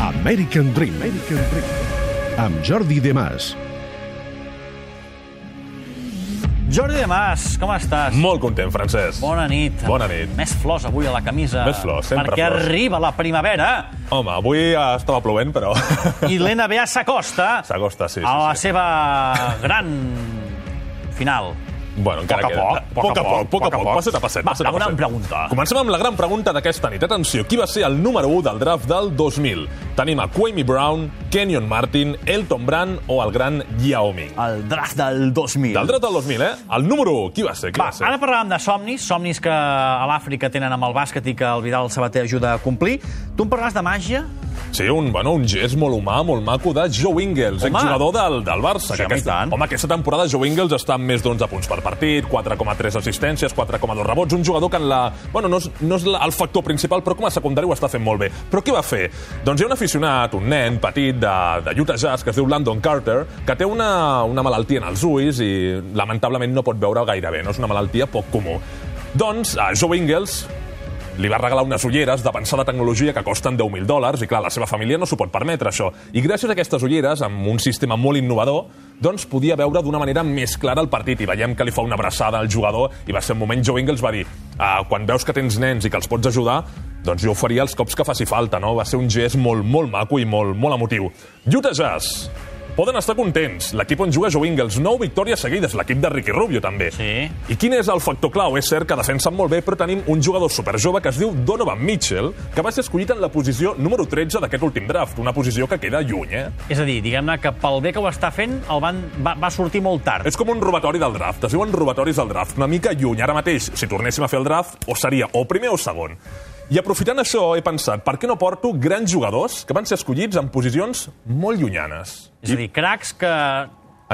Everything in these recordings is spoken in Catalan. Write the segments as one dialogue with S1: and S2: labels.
S1: American Dream. American Dream. Amb Jordi De Mas.
S2: Jordi de Mas, com estàs?
S3: Molt content, Francesc.
S2: Bona nit.
S3: Bona nit.
S2: Més flors avui a la camisa.
S3: Més flors, sempre
S2: Perquè
S3: flors.
S2: arriba la primavera
S3: Home, avui eh, estava plovent, però
S2: i l'NBA s'acosta
S3: s'acosta, sí, sí,
S2: a la
S3: sí.
S2: seva gran final.
S3: Bueno, encara
S2: Poc a
S3: queda.
S2: poc, poc a poc,
S3: poc a poc, passet a passet.
S2: Va,
S3: passet a
S2: la gran
S3: passet.
S2: pregunta.
S3: Comencem amb la gran pregunta d'aquesta nit. Atenció, qui va ser el número 1 del draft del 2000? Tenim a Kwame Brown, Kenyon Martin, Elton Brand o el gran Yao Ming.
S4: El draft del 2000.
S3: Del draft del 2000, eh? El número 1, qui va ser? Qui
S2: Va,
S3: va, ser?
S2: ara parlàvem de somnis, somnis que a l'Àfrica tenen amb el bàsquet i que el Vidal Sabater ajuda a complir. Tu em parlaràs de màgia?
S3: Sí, un, bueno, un gest molt humà, molt maco de Joe Ingles,
S2: Home.
S3: exjugador del, del Barça.
S2: Sí, home, i
S3: aquesta,
S2: tant.
S3: home, aquesta temporada Joe Ingles està amb més d'11 punts per partit, 4,3 assistències, 4,2 rebots, un jugador que en la... Bueno, no és, no és la, el factor principal, però com a secundari ho està fent molt bé. Però què va fer? Doncs hi ha un aficionat, un nen petit de, de Utah Jazz, que es diu Landon Carter, que té una, una malaltia en els ulls i lamentablement no pot veure gaire bé, no és una malaltia poc comú. Doncs a Joe Ingles li va regalar unes ulleres de pensar de tecnologia que costen 10.000 dòlars i, clar, la seva família no s'ho pot permetre, això. I gràcies a aquestes ulleres, amb un sistema molt innovador, doncs podia veure d'una manera més clara el partit. I veiem que li fa una abraçada al jugador i va ser un moment... Joe Ingles va dir, ah, quan veus que tens nens i que els pots ajudar, doncs jo ho faria els cops que faci falta, no? Va ser un gest molt, molt maco i molt, molt emotiu. Utah Jazz, poden estar contents. L'equip on juga Joe Ingles, 9 victòries seguides, l'equip de Ricky Rubio també.
S2: Sí.
S3: I quin és el factor clau? És cert que defensen molt bé, però tenim un jugador superjove que es diu Donovan Mitchell, que va ser escollit en la posició número 13 d'aquest últim draft, una posició que queda lluny, eh?
S2: És a dir, diguem-ne que pel bé que ho està fent, el van, va, va sortir molt tard.
S3: És com un robatori del draft, es diuen robatoris del draft, una mica lluny. Ara mateix, si tornéssim a fer el draft, o seria o primer o segon. I aprofitant això, he pensat, per què no porto grans jugadors que van ser escollits en posicions molt llunyanes?
S2: És a dir, cracs que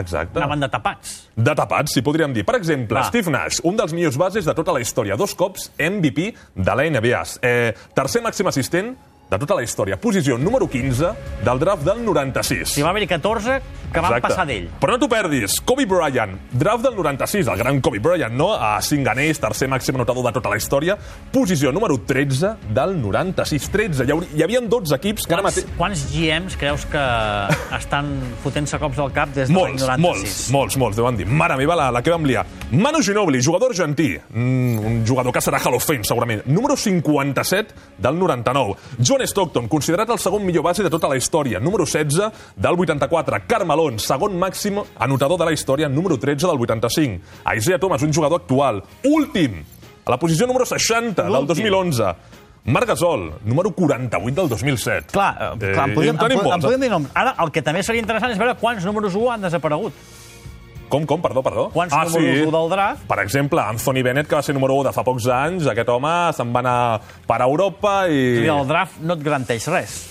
S3: Exacte.
S2: anaven de tapats.
S3: De tapats, si podríem dir. Per exemple,
S2: Va.
S3: ah. Steve Nash, un dels millors bases de tota la història. Dos cops MVP de la NBA. Eh, tercer màxim assistent de tota la història. Posició número 15 del draft del 96.
S2: Si va haver-hi 14 que van passar d'ell.
S3: Però no t'ho perdis. Kobe Bryant, draft del 96, el gran Kobe Bryant, no? A 5 anells, tercer màxim anotador de tota la història. Posició número 13 del 96. 13. Hi, hauri- hi havia 12 equips que ara
S2: Quants,
S3: mateix...
S2: quants GMs creus que estan fotent-se cops al cap des de l'any
S3: Molts,
S2: 96?
S3: molts, molts, molts, deuen dir. Mare meva, la, la que vam liar. Manu Ginobili, jugador argentí. Mm, un jugador que serà Hall of Fame, segurament. Número 57 del 99. John Stockton, considerat el segon millor base de tota la història. Número 16 del 84. Carmelón, segon màxim anotador de la història. Número 13 del 85. Isaiah Thomas, un jugador actual. Últim, a la posició número 60 del
S2: L'últim.
S3: 2011. Marc Gasol, número 48 del 2007.
S4: Clar, eh, clar, en podríem,
S3: i en tenim
S4: en, po- en
S3: molts, eh?
S4: podríem dir noms.
S2: Ara, el que també seria interessant és veure quants números 1 han desaparegut.
S3: Com, com? Perdó, perdó. Ah,
S2: Quants números u del draft?
S3: Per exemple, Anthony Bennett, que va ser número 1 de fa pocs anys, aquest home se'n va anar per a Europa i...
S2: I el draft no et garanteix res.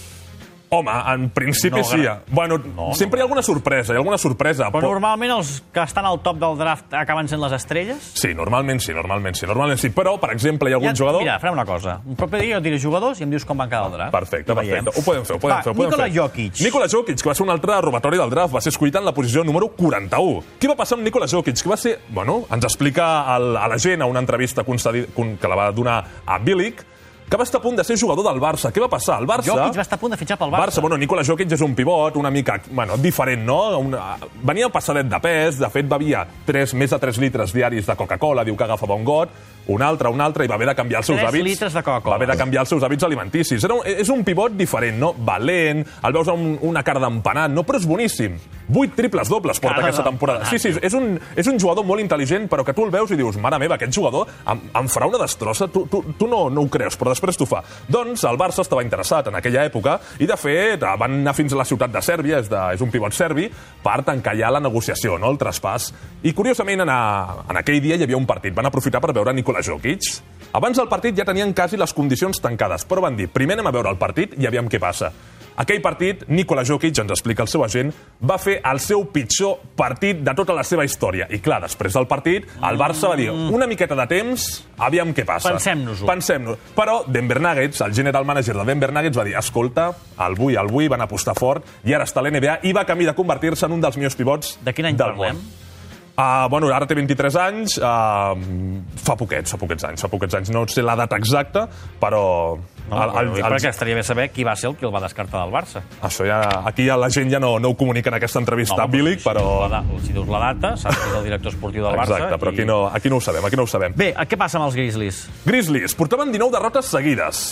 S3: Home, en principi
S2: No,
S3: no, sí.
S2: gra-
S3: Bueno, no, sempre hi ha alguna sorpresa, hi ha alguna sorpresa.
S2: Però normalment els que estan al top del draft acaben sent les estrelles.
S3: Sí, normalment sí, normalment sí, normalment sí. Però, per exemple, hi ha algun
S2: Ja-
S3: jugador...
S2: Mira, farem una cosa. Un proper dia jo et diré jugadors i em dius com van quedar el draft.
S3: Perfecte,
S2: I veiem.
S3: perfecte. Ho podem fer, ho podem
S2: Va,
S3: fer. Ho podem
S2: Nikola
S3: fer.
S2: Jokic.
S3: Nikola Jokic, que va ser un altre robatori del draft, va ser escollit en la posició número 41. Què va passar amb Nikola Jokic? Que va ser... Bueno, ens explica el, a la gent a una entrevista concedi, con, que la va donar a Bilic, que va estar a punt de ser jugador del Barça. Què va passar? El Barça...
S2: Jokic va estar a punt de fitxar pel
S3: Barça, bueno, Nikola Jokic és un pivot, una mica, bueno, diferent, no? Una... Venia passadet de pes, de fet bevia 3, més de 3 litres diaris de Coca-Cola, diu que agafava un got, un altre, un altre, i va haver de canviar els seus
S2: Tres
S3: hàbits.
S2: litres de Coca-Cola.
S3: Va haver de canviar els seus hàbits alimenticis. Era un, eh, és un pivot diferent, no? Valent, el veus amb una cara d'empanat, no? Però és boníssim. Vuit triples dobles porta
S2: Cara
S3: aquesta temporada. Sí,
S2: d'empanat.
S3: sí, és un, és un jugador molt intel·ligent, però que tu el veus i dius, mare meva, aquest jugador em, em farà una destrossa. Tu, tu, tu no, no ho creus, però després t'ho fa. Doncs el Barça estava interessat en aquella època i, de fet, eh, van anar fins a la ciutat de Sèrbia, és, de, és un pivot serbi, per tancar ja la negociació, no? el traspàs. I, curiosament, en, a, en aquell dia hi havia un partit. Van aprofitar per veure Nikola Jokic. Abans del partit ja tenien quasi les condicions tancades, però van dir, primer anem a veure el partit i aviam què passa. Aquell partit, Nikola Jokic, ens explica el seu agent, va fer el seu pitjor partit de tota la seva història. I clar, després del partit, el Barça va dir una miqueta de temps, aviam què passa.
S2: Mm. Pensem-nos-ho.
S3: Pensem-nos. Però Denver Nuggets, el general manager de Denver Nuggets, va dir escolta, el Bui, el Bui, van apostar fort i ara està a l'NBA i va camí de convertir-se en un dels millors pivots
S2: De quin any
S3: del
S2: parlem?
S3: món. Uh, bueno, ara té 23 anys, uh, fa poquets, fa poquets anys, fa poquets anys. No sé la data exacta, però...
S2: No, el, el, el, perquè estaria bé saber qui va ser el que el va descartar del Barça.
S3: Això ja, aquí ja la gent ja no, no ho comunica en aquesta entrevista no, bílic,
S2: si
S3: però...
S2: dius la da- Si dius la data, saps que és el director esportiu del Barça.
S3: Exacte, però aquí no, aquí no ho sabem, aquí no ho sabem.
S2: Bé, eh, què passa amb els Grizzlies?
S3: Grizzlies portaven 19 derrotes seguides.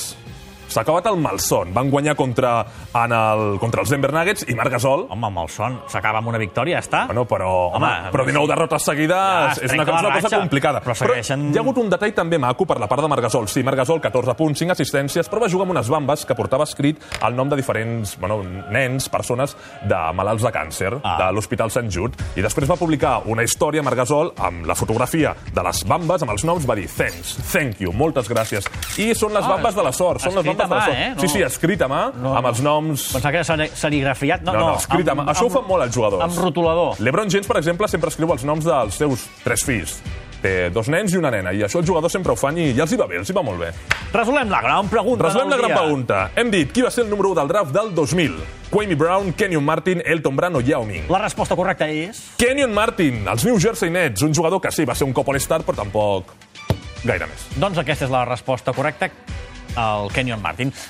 S3: S'ha acabat el malson. Van guanyar contra, en el, contra els Denver Nuggets i Marc Gasol.
S2: Home, amb el son s'acaba amb una victòria, ja està.
S3: Bueno, però, home,
S2: Home,
S3: però 19 derrotes
S2: Ja,
S3: seguides
S2: es
S3: és
S2: trenca
S3: una, és
S2: la
S3: una cosa
S2: ratxa,
S3: complicada.
S2: però segueixen-
S3: hi ha hagut un detall també maco per la part de Margasol. Sí, Margasol, 14 punts, 5 assistències, però va jugar amb unes bambes que portava escrit el nom de diferents bueno, nens, persones de malalts de càncer
S2: Ah.
S3: de l'Hospital Sant Jud. I després va publicar una història, Margasol, amb la fotografia de les bambes, amb els noms, va dir thanks, thank you, moltes gràcies. I són les
S2: Ah,
S3: bambes de la sort. Són les
S2: escrit a
S3: bambes de la
S2: mà,
S3: sort.
S2: eh? No.
S3: Sí, sí, escrit a mà, amb els noms...
S2: Pensava que era seri- serigrafiat. No,
S3: No,
S2: no,
S3: no, escrit a mà. Això ho fan molt els jugadors.
S2: Amb rotulador.
S3: LeBron James, per exemple, sempre escriu els noms dels seus tres fills. Té dos nens i una nena, i això els jugadors sempre ho fan i ja els hi va bé, els hi va molt bé.
S2: Resolem la gran pregunta
S3: Resolem la
S2: del
S3: gran
S2: dia.
S3: pregunta. Hem dit qui va ser el número 1 del draft del 2000. Kwame Brown, Kenyon Martin, Elton Brand o Yao Ming.
S2: La resposta correcta és...
S3: Kenyon Martin, els New Jersey Nets, un jugador que sí, va ser un cop All-Star, però tampoc gaire més.
S2: Doncs aquesta és la resposta correcta, el Kenyon Martin.